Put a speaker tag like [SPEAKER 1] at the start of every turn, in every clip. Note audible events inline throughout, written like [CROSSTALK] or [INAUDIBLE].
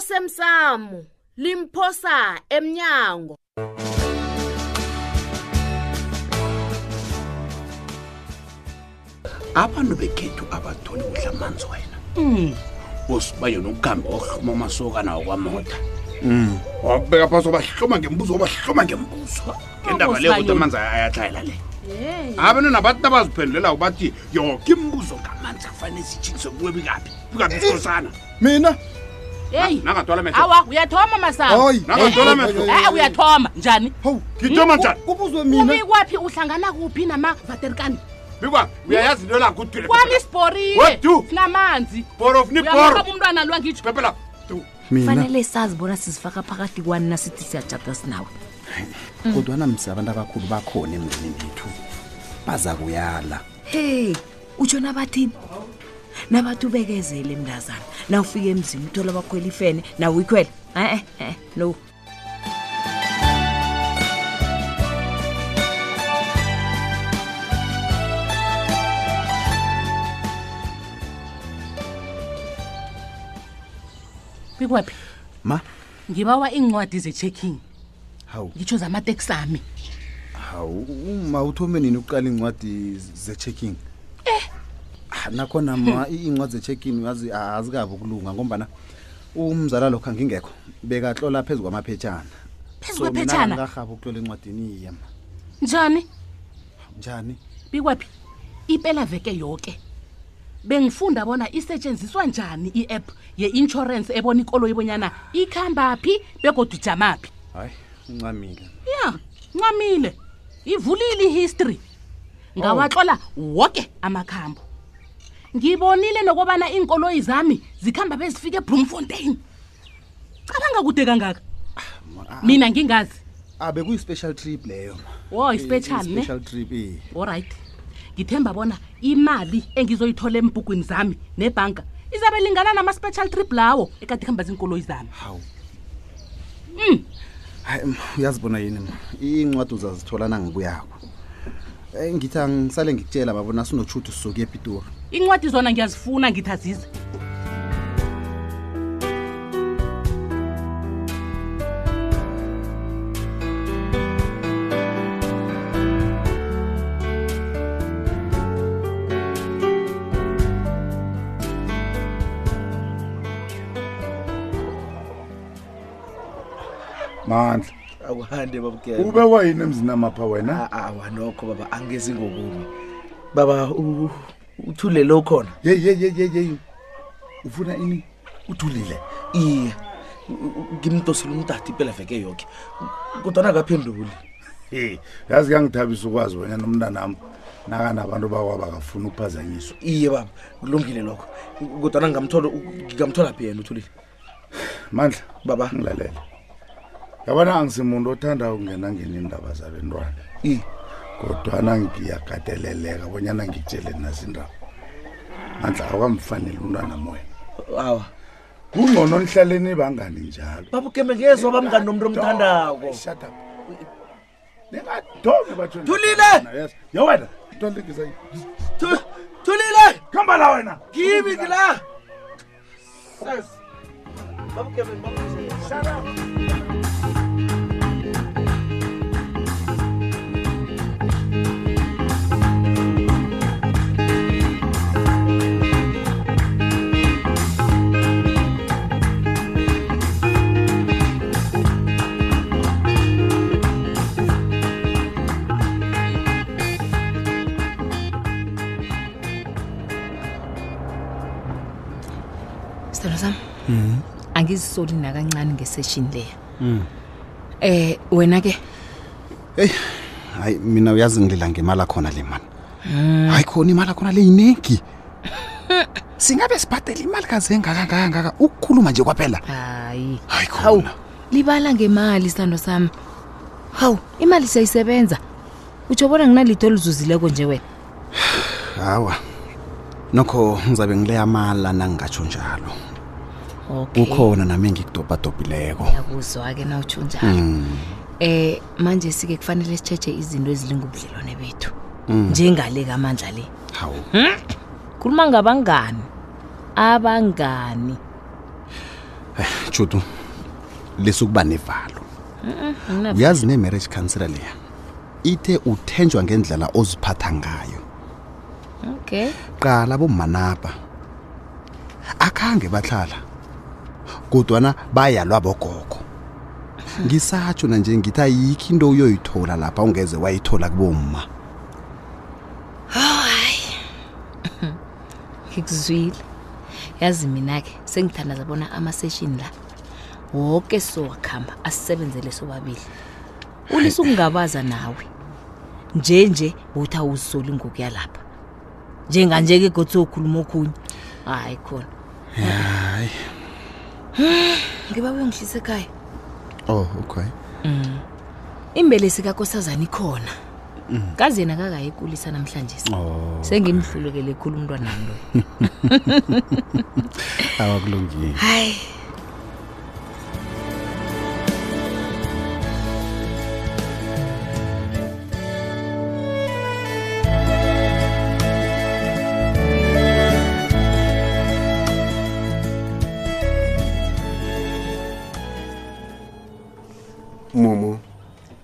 [SPEAKER 1] osemsamo limphosa emnyango
[SPEAKER 2] abantu bekhethu abatholi kudla amanzi wena usiba yena ukuhamba wahluma amasokana wakwamota
[SPEAKER 3] Hmm.
[SPEAKER 2] wabeka phasi wabahloma ngembuzo wabahloma ngembuzo ngendaba leyo kuthi amanzi ayatlayela le abantwana bathi abaziphendulela ubathi yoke imibuzo ngamanzi afanele sitshikise kuwe bikaphi bikaphi isikosana
[SPEAKER 3] mina
[SPEAKER 1] hey
[SPEAKER 2] nangatwala mehlo
[SPEAKER 4] awa uyathoma masana
[SPEAKER 3] hayi
[SPEAKER 2] Nangathola
[SPEAKER 3] hayi,
[SPEAKER 2] amehlo.
[SPEAKER 3] hayi, hayi.
[SPEAKER 4] e uyathoma njani
[SPEAKER 3] hawu
[SPEAKER 2] ngithoma njani
[SPEAKER 3] kubuzwe
[SPEAKER 4] umi
[SPEAKER 3] mina
[SPEAKER 4] kwaphi uhlangana kuphi namavaterikani
[SPEAKER 2] bikwa uyayazi into lakho udile
[SPEAKER 4] kwani
[SPEAKER 2] What
[SPEAKER 4] isiborile
[SPEAKER 2] do?
[SPEAKER 4] sinamanzi
[SPEAKER 2] borofniboro
[SPEAKER 4] uyamhloba umntwana lo angitsho
[SPEAKER 2] phepela tu
[SPEAKER 3] mina
[SPEAKER 5] fanele sazi bona sizifaka phakathi kwani nasithi siyajada sinawe
[SPEAKER 3] kodwana msi abantu abakhulu bakhona emndenini yethu baza kuyala
[SPEAKER 5] hey utshona bathini nabathi ubekezele mndazana na ufika emzini uthola bakhwela ifene nawe uyikhwele
[SPEAKER 4] Eh,
[SPEAKER 5] e-e e no
[SPEAKER 4] bikwaphi
[SPEAKER 3] ma
[SPEAKER 4] ngibawa iincwadi ze-checking
[SPEAKER 3] hawu
[SPEAKER 4] ngitsho zamateksi ami
[SPEAKER 3] hawu ma uthome nini ukuqala iy'ncwadi ze-checking Ah, nakhona ma iy'ncwadi ze-checking yazi ah, azikabi ukulunga ngombana umzala lokho angingekho bekahlola phezu kwamaphetshana
[SPEAKER 4] Phezu
[SPEAKER 3] So, mina
[SPEAKER 4] kwephetshana?
[SPEAKER 3] angikakhabi ukuhlola encwadini yema
[SPEAKER 4] njani
[SPEAKER 3] njani
[SPEAKER 4] bikwaphi ipela veke yoke bengifunda bona isetshenziswa njani i-app ye-insurance ebona ikolo ibonyana ikhamba phi begodwa ijamaphi
[SPEAKER 3] hayi uncamile
[SPEAKER 4] ya ncamile ivulile ihistory ngawaxola woke amakhambo ngibonile nokubana iinkoloyi zami zikhamba bezifika ebloemfontein cabanga kude kangaka mina ngingazi
[SPEAKER 3] ah bekuyi-special trip leyo ma.
[SPEAKER 4] wo
[SPEAKER 3] Eh,
[SPEAKER 4] ispecial Oh, ne
[SPEAKER 3] i-special trip eh.
[SPEAKER 4] olright ngithemba bona imali engizoyithola embhugwini zami nebhanka izabe lingana nama-special trip lawo ekade kuhamba ziinkoloyi zami
[SPEAKER 3] hawu hayi m, uyazibona yini ma iy'ncwadi uzazithola nangibuyakho Eh, ngithi angisale ngikutshela babona sinotshuthi sisuke epitori
[SPEAKER 4] incwadi zona ngiyazifuna ngithi azize
[SPEAKER 6] mandla
[SPEAKER 7] awuhande babukela
[SPEAKER 6] ube wayini emzini amapha wena
[SPEAKER 7] awa nokho ah, baba angezi ngokumi baba u- uthule lo khona
[SPEAKER 6] yeyi yeyi yeyi yeyi ufuna ini
[SPEAKER 7] uthulile iye ngimdosela umdade impela veke yoke kodwana akaphenduli
[SPEAKER 6] e yazi kuyangithabisa ukwazi wena nomntanami nakanabantu bakwaba kafuni ukuphazanyiswa
[SPEAKER 7] iye baba kulungile lokho kodwana ngingamthola ngingamthola phi yena uthulile
[SPEAKER 6] mandla
[SPEAKER 7] Baba.
[SPEAKER 6] ngilalele yabona angisimuntu othanda ukungena ngeni indaba zabentwana
[SPEAKER 7] iye
[SPEAKER 6] kodwana ngiyakateleleka bonyana ngitshele nazindaba mandla awukamfanele umntwana moya
[SPEAKER 7] awa
[SPEAKER 6] kungcono nihlaleni bangani njalo
[SPEAKER 7] baba ukembe ngezwa bamngani nomuntu omthandako
[SPEAKER 6] Shut up. ningadomi bathweni.
[SPEAKER 7] Thulile!
[SPEAKER 6] Yes. yo wena ntolekisa
[SPEAKER 7] Thu- thulile
[SPEAKER 6] khamba la wena
[SPEAKER 7] kimi ngila Sis. baba ukembe baba
[SPEAKER 5] sithando sam angizisoli nakancane ngeseshini leya um wena ke
[SPEAKER 3] hayi mina uyazi ngilila ngemali akhona le mani hayi khona imali akhona le yinengi [LAUGHS] singabe sibhadela imali kaze engakangakangaka ukukhuluma nje kwaphela
[SPEAKER 5] hayi
[SPEAKER 3] hayi
[SPEAKER 5] hawu
[SPEAKER 3] khona
[SPEAKER 5] libala ngemali sithando sami hawu imali siyayisebenza utsho bona nginalitho oluzuzileko nje wena
[SPEAKER 3] hawa nokho ngizabe ngileya amala nangingatsho njalo
[SPEAKER 5] okay
[SPEAKER 3] kukhona nami engikudobhadobhileko
[SPEAKER 5] yakuzwa-ke na utsho njalo um manje sike kufanele sitshetshe izinto ezilingubudlelwane bethu njengale kamandla le
[SPEAKER 3] hawu
[SPEAKER 5] khuluma ngabangani abangani
[SPEAKER 3] Chutu. Lesukuba nevalo. Uyazi ne marriage counselor leya. Ithe uthenjwa ngendlela oziphatha ngayo.
[SPEAKER 5] okay
[SPEAKER 3] Qala bomanapa. Akhange bahlala. Kodwana bayalwa bogogo. Ngisatsho na nje ngithi ayikho into uyoyithola lapha ungeze wayithola kubomma.
[SPEAKER 5] ngikuzwile yazi mina-ke sengithandaza bona amaseshini la woke sowakhamba asisebenzele sobabili ulise ukungabaza nawe njenje uthi awuzisoli ngokuya lapha njenganje-ke gothi sokhuluma okhunye hayi khona
[SPEAKER 3] Hayi.
[SPEAKER 5] ngiba uyangihlisa ekhaya
[SPEAKER 3] Oh, okay.
[SPEAKER 5] imbelesi kakosazana ikhona kazi yena kakaye ekulisa namhlanje
[SPEAKER 3] Oh,
[SPEAKER 5] sengimhlulukele khulu umntwanami loyo
[SPEAKER 3] awakulungile.
[SPEAKER 5] hayi
[SPEAKER 8] mumu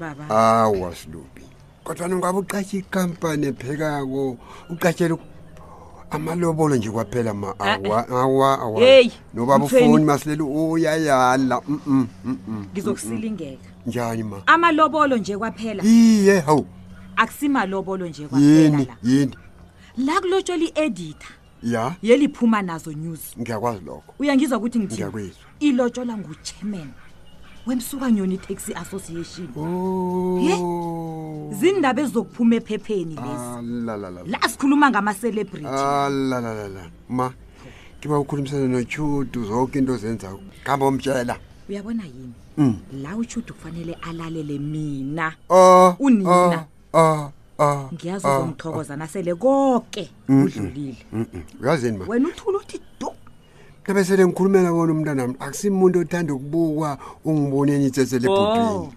[SPEAKER 4] baba
[SPEAKER 8] awa silubi kodwa ningabe uqatshe ikampani ephekako uqatshele uk- amalobolo nje kwaphela ma awa awa awa
[SPEAKER 4] Eh, Hey,
[SPEAKER 8] nobaba
[SPEAKER 4] Mthweni.
[SPEAKER 8] ufoni masileli uyayala mm, mm, mm.
[SPEAKER 4] ngizokusilingeka
[SPEAKER 8] njani ma
[SPEAKER 4] amalobolo nje kwaphela
[SPEAKER 8] iye hawu
[SPEAKER 4] akusimalobolo nje
[SPEAKER 8] yini yini
[SPEAKER 4] la kulotshola i-editha
[SPEAKER 8] ya
[SPEAKER 4] yeliphuma nazo news
[SPEAKER 8] ngiyakwazi lokho
[SPEAKER 4] uyangizwa ukuthi ngithini
[SPEAKER 8] Ngiyakwizwa.
[SPEAKER 4] ilotshola nguchairman wemsukanyoni taxi association
[SPEAKER 3] Oh.
[SPEAKER 4] zindaba ezizokuphuma ephepheni lezi
[SPEAKER 8] alalalala
[SPEAKER 4] la sikhuluma
[SPEAKER 8] Ah.
[SPEAKER 4] ngama-celebrity
[SPEAKER 8] alalalala ma kiba ukhulumisana nochudu zonke into ozenzayo kambe omtshela
[SPEAKER 4] uyabona yini
[SPEAKER 8] Mm.
[SPEAKER 4] la utshuda kufanele alalele mina
[SPEAKER 8] Oh,
[SPEAKER 4] Unina.
[SPEAKER 8] oh, oh, oh,
[SPEAKER 4] ngiyazi
[SPEAKER 8] oh.
[SPEAKER 4] uzongithokoza nasele konke kudlulile
[SPEAKER 8] Mm-mm. Mm, uyazini ma
[SPEAKER 4] wena uthule uthi du
[SPEAKER 8] nabe sele ngikhulumela wona umntanami akusimuntu othanda ukubukwa ungiboneni itsesele ebhubhini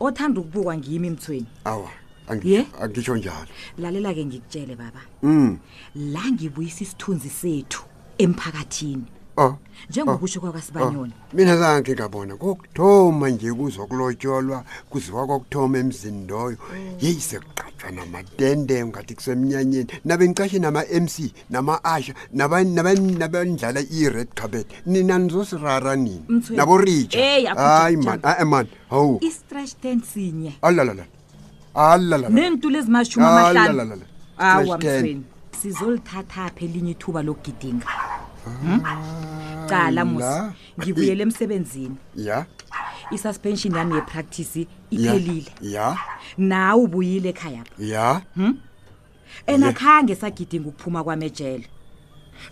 [SPEAKER 4] Oh. othanda ukubukwa ngimi mthweni
[SPEAKER 8] awa angi-
[SPEAKER 4] Ye?
[SPEAKER 8] angitsho njalo
[SPEAKER 4] lalela-ke ngikutshele baba
[SPEAKER 8] Mm.
[SPEAKER 4] la ngibuyisa isithunzi sethu emphakathini
[SPEAKER 8] Oh,
[SPEAKER 4] njengokusho
[SPEAKER 8] oh.
[SPEAKER 4] kwakasibanyoni
[SPEAKER 8] mina zange ngabona kokuthoma nje kuzokulotsholwa kuziwa kokuthoma emzini loyo
[SPEAKER 4] Mm.
[SPEAKER 8] yeyi sekuqatshwa namatende ngathi kusemnyanyeni nabe ngicashe nama-mc nama-asha naba- naba- nabandlala i-red carpet nina nizosirara nini
[SPEAKER 4] Mthweni. Eh,
[SPEAKER 8] naborija
[SPEAKER 4] Hey, akujama,
[SPEAKER 8] hayi man
[SPEAKER 4] jama.
[SPEAKER 8] ae man hawu
[SPEAKER 4] i-strash ten sinye
[SPEAKER 8] alalala alalala
[SPEAKER 4] neentulo ezimashumi
[SPEAKER 8] Ah,
[SPEAKER 4] amahlanu awa
[SPEAKER 8] Stretch ten.
[SPEAKER 4] mthweni sizolithatha pha elinye ithuba lokugidinga Hmm? cala musi
[SPEAKER 8] la.
[SPEAKER 4] ngibuyele emsebenzini
[SPEAKER 8] ya
[SPEAKER 4] isuspension yami yepractice
[SPEAKER 8] ya,
[SPEAKER 4] iphelile
[SPEAKER 8] ya
[SPEAKER 4] nawe ubuyile ekhaya pha
[SPEAKER 8] ya
[SPEAKER 4] enakhange sagidinga ukuphuma kwami ejele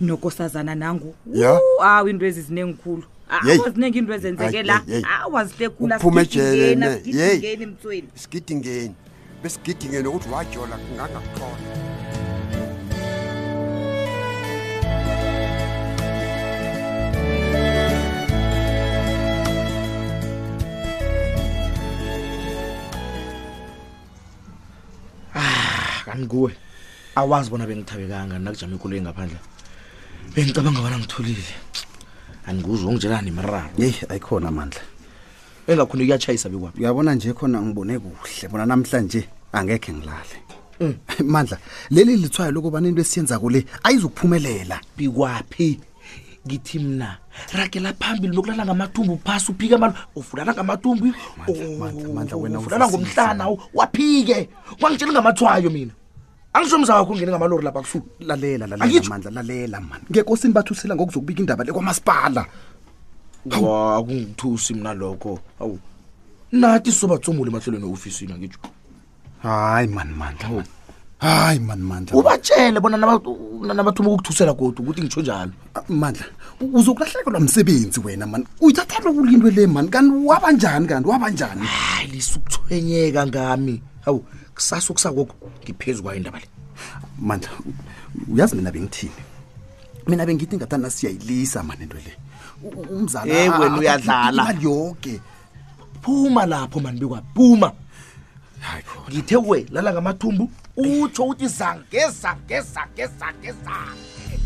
[SPEAKER 4] nokosazana nangu
[SPEAKER 8] Ya.
[SPEAKER 4] Wuu, awu into ezi Ah, zinengikhulu
[SPEAKER 8] Yeyi.
[SPEAKER 4] awaziningi into ezenzeke
[SPEAKER 8] Ay,
[SPEAKER 4] la
[SPEAKER 8] yeyi, yeyi.
[SPEAKER 4] awazihlekhula
[SPEAKER 8] Uphuma ejele, ne. Yeyi.
[SPEAKER 4] mtsweni
[SPEAKER 8] sigidingeni besigidinge nokuthi wajola kungangakhona
[SPEAKER 7] kanikuwe awazi bona bengithabekanga nakujama ikoloyi ngaphandle bengicabanga bona ngitholile andikuze ungitshelani nemiraro
[SPEAKER 3] Hey, ayikhona amandla.
[SPEAKER 7] engakhona kuyatshayisa bekwaphi
[SPEAKER 3] Uyabona nje khona ngibone kuhle. Bona namhlanje angeke ngilale. Mm. [LAUGHS] Mandla, leli lithwayo lokubana into esiyenza kule ayizukuphumelela.
[SPEAKER 7] bikwaphi ngithi mna ragela phambili nokulala ngamathumbu phasi uphike abantu uvulana ngamathumbu oh,
[SPEAKER 3] Mandla, Mandla, wena
[SPEAKER 7] uvulana
[SPEAKER 3] uzwisisa.
[SPEAKER 7] ngomhlana u- waphike kwangitsheli ngamathwayo mina angisho mza wakho ungene ngamalori lapha kusuku
[SPEAKER 3] Lalela, lalela
[SPEAKER 7] Angitsho.
[SPEAKER 3] Mandla, lalela man. Ngekosini bathusela ngokuzokubika indaba le kwamasipala.
[SPEAKER 7] wa kungithusi mna lokho awu nathi sobatsomule emahlelweni e-ofisini angitsho
[SPEAKER 3] Hayi man Mandla. man. Hayi man Mandla.
[SPEAKER 7] ubatshele bona naba- nabathuma ukukuthusela kodwa ukuthi ngitsho njalo
[SPEAKER 3] mandla u- uzokulahlekelwa msebenzi wena mani uyithathela kulintwe le mani kanti wabanjani kanti wabanjani
[SPEAKER 7] hayi lisukuthwenyeka ngami hawu kusasa okusakoko ngiphezu kwayo indaba le
[SPEAKER 3] mandla u- uyazi mina bengithini mina bengithi ngathana siyayilisa mani into le U- u- umzala
[SPEAKER 7] Eh, wena
[SPEAKER 3] a- a-
[SPEAKER 7] uyadlala.
[SPEAKER 3] imali yoke
[SPEAKER 7] phuma lapho mani bikwa phuma
[SPEAKER 3] hayi khona
[SPEAKER 7] ngithe we lala ngamathumbu utsho uthi zange zange zange zange zange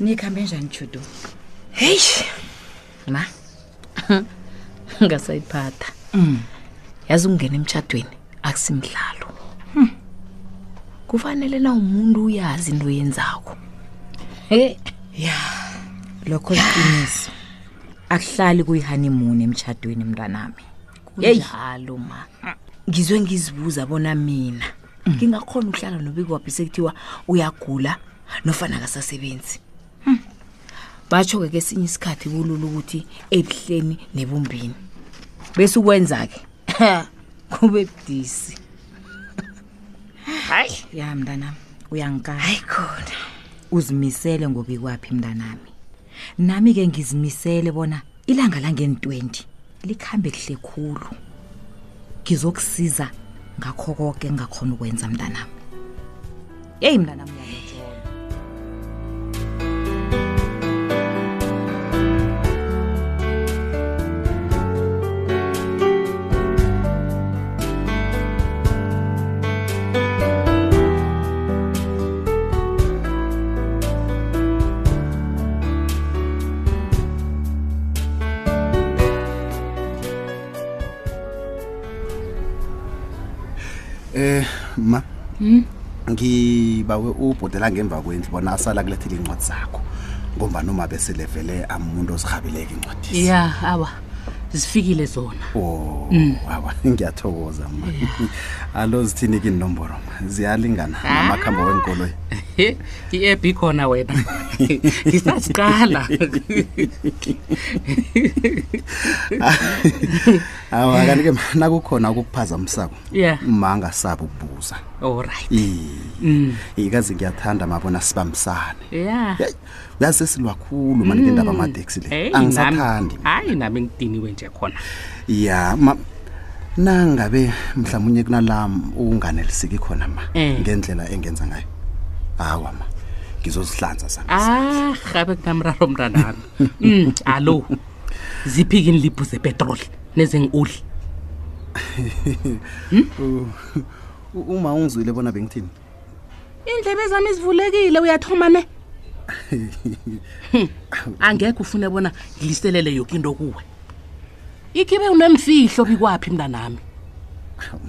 [SPEAKER 4] nikhambe njani judu
[SPEAKER 5] heyi ma ngasayiphatha
[SPEAKER 4] Mm.
[SPEAKER 5] yazi ukungena emtshadweni akusimdlalo
[SPEAKER 4] Hmm.
[SPEAKER 5] kufanele na umuntu uyazi into yenzako he
[SPEAKER 4] ya lokho iqiniso akuhlali kuyihanimuni emtshadweni mntwanami Yeyi.
[SPEAKER 5] kunjalo ma
[SPEAKER 4] ngizwe ngizibuza bona mina ngingakhona ukuhlala nobikwaphi sekuthiwa uyagula nofana akasasebenzi Hmm. batsho-ke kesinye isikhathi kulula ukuthi ebuhleni nebumbini bese ukwenza-ke [LAUGHS] kube budisi hayi ya mntanami uyangikala hayi khona uzimisele ngobikwaphi mntanami nami-ke ngizimisele bona ilanga langeni 20 likhambe kuhle khulu ngizokusiza ngakho konke engingakhona ukwenza mntanami yeyi mntanami uyangijola
[SPEAKER 3] Eh ma
[SPEAKER 9] Hmm?
[SPEAKER 5] Mm.
[SPEAKER 3] ngibawe ubhodela ngemva kwendlu bona asala kulethela incwadi zakho ngomba noma bese levele amuntu ozihabileke incwadi
[SPEAKER 9] ya awa zifikile zona
[SPEAKER 3] Oh,
[SPEAKER 9] Mm.
[SPEAKER 3] wawa [LAUGHS] ngiyathokoza ma [LAUGHS] alo zithini ke inomboro ma ziyalingana namakhamba wenkoloyi
[SPEAKER 9] i-app ikhona wena [LAUGHS] ngisaziqala
[SPEAKER 3] awa kanti ke ma nakukhona ukukuphazamisako
[SPEAKER 9] Yeah.
[SPEAKER 3] ma angasabi ukubuza
[SPEAKER 9] allright Hmm.
[SPEAKER 3] Mm. ikazi ngiyathanda mabona sibambisane
[SPEAKER 9] ya
[SPEAKER 3] Yeyi, uyazi sesilwa khulu manike indaba
[SPEAKER 9] Mm.
[SPEAKER 3] amateksi le
[SPEAKER 9] Hey,
[SPEAKER 3] angisathandi
[SPEAKER 9] nami- hayi nami ngidiniwe nje khona
[SPEAKER 3] ya ma nangabe mhlawumunye kunalam unganeliseki khona ma
[SPEAKER 9] Eh.
[SPEAKER 3] ngendlela engenza ngayo hawa ma ngizozihlanza sana
[SPEAKER 9] ah rabe kunamraro mntanami mm, allo ziphi-ke inlibhu zepetroli nezengi-oli
[SPEAKER 3] U- u- uma ungizwile bona bengithini
[SPEAKER 9] iindlebe zami zivulekile uyathoma ne angekho ufune bona ngiliselele yoke into kuwe ikhibe unemfihlo bikwaphi mntanami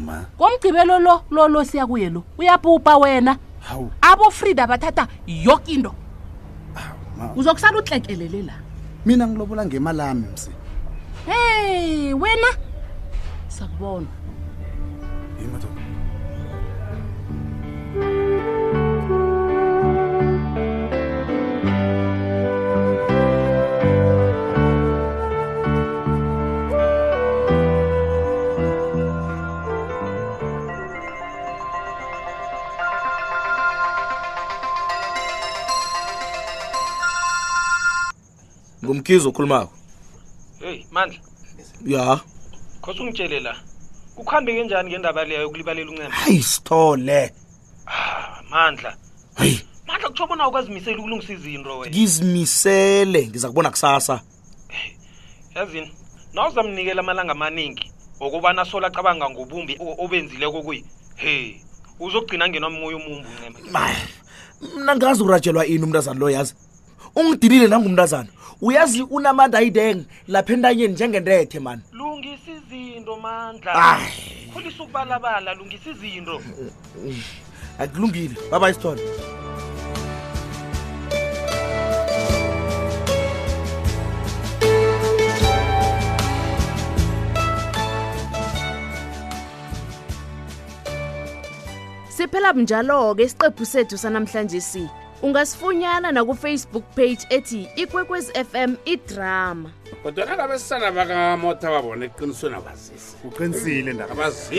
[SPEAKER 3] ma
[SPEAKER 9] komgcibelo lo lolo siya kuye lo uyabhubha wena
[SPEAKER 3] hawu
[SPEAKER 9] abofrida bathatha yoke into
[SPEAKER 3] ma
[SPEAKER 9] uzokusala utlekelele la
[SPEAKER 3] mina ngilobola ngemalami msi
[SPEAKER 9] hey wena sakubona
[SPEAKER 7] ngumkhizo okhulumako
[SPEAKER 10] heyi mandla
[SPEAKER 7] ya
[SPEAKER 10] khosi ungitshele la kukuhambeke njani ngendaba leyo yokulibalela uncema
[SPEAKER 7] hayi sithole
[SPEAKER 10] Ah, mandla mandla kutsho bona ukwazimisela ukulungisa izinto wena
[SPEAKER 7] ngizimisele ngiza kubona kusasa
[SPEAKER 10] yazini nawuzamnikela amalanga amaningi wokubana sola acabanga ngobumbi o- obenzileko kuye he uzokugcina ngenwa moya omumbi uncema
[SPEAKER 7] mna ngazi urajelwa ini umntazana lo yazi ungidilile nangumntazana uyazi unamandla ayideng lapha entanyeni njengentethe mani
[SPEAKER 10] lungisa izinto mandla
[SPEAKER 7] Ayi.
[SPEAKER 10] khulisa ukubalabala lungisa izinto
[SPEAKER 7] akulungile baba isithole
[SPEAKER 1] Siphela njalo ke isiqephu sethu sanamhlanje si. Ungasifunyana na ku Facebook page ethi Ikwekwezi FM iDrama.
[SPEAKER 2] kodwana labesana bakamotha babona eqinisweni abazisi
[SPEAKER 3] uqinisile ndaba
[SPEAKER 2] abazisi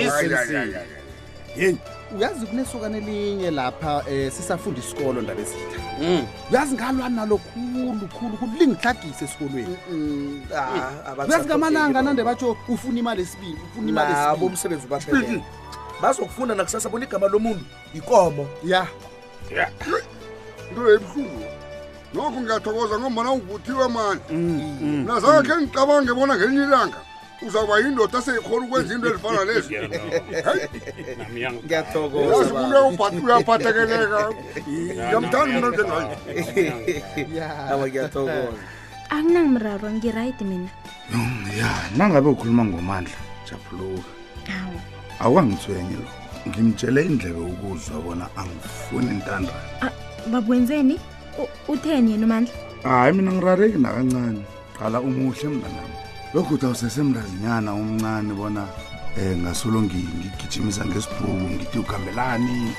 [SPEAKER 3] yini uyazi kunesokane elinye lapha um sisafunda isikolo ndaba ezitha
[SPEAKER 9] Mm.
[SPEAKER 3] uyazi ngalwa nalo khulu khulu khulu lingihlagise
[SPEAKER 9] Mm,
[SPEAKER 3] esikolweni
[SPEAKER 7] Ah,
[SPEAKER 3] uyazi ngamalanga nande batsho ufuna imali esibili ufuna imali esibili
[SPEAKER 7] nabo umsebenzi ubaphelele bazokufunda nakusasa bona igama lomuntu ikomo
[SPEAKER 3] ya
[SPEAKER 11] into ebuhlungu nokho ngiyathokoza ngombana ungivuthiwe mani nazange khe ngicabange bona ngenye ilanga uzawuba yindoda seyikhona ukwenza into elifana lezi yazi
[SPEAKER 12] ngiyathokoza
[SPEAKER 11] uyaphathekeleka ngiyamthanda mna njengayo
[SPEAKER 12] aba ngiyathokoza
[SPEAKER 13] akunangimraro ngirayidi mina
[SPEAKER 6] ya nangabe ukhuluma ngomandla japhuluka
[SPEAKER 13] awu
[SPEAKER 6] awangithwenye lo ngimtshele indlebe ukuzwa bona angifuni intandane
[SPEAKER 13] Ah, bakwenzeni U- utheni yena umandla
[SPEAKER 6] hayi mina ngirareki nakancane qala umuhle mnganami lokhuthi awusesemntazinyana eh, omncane bona um ngasolo ngi- ngigijimisa ngesibhuku ngithi ukhambelani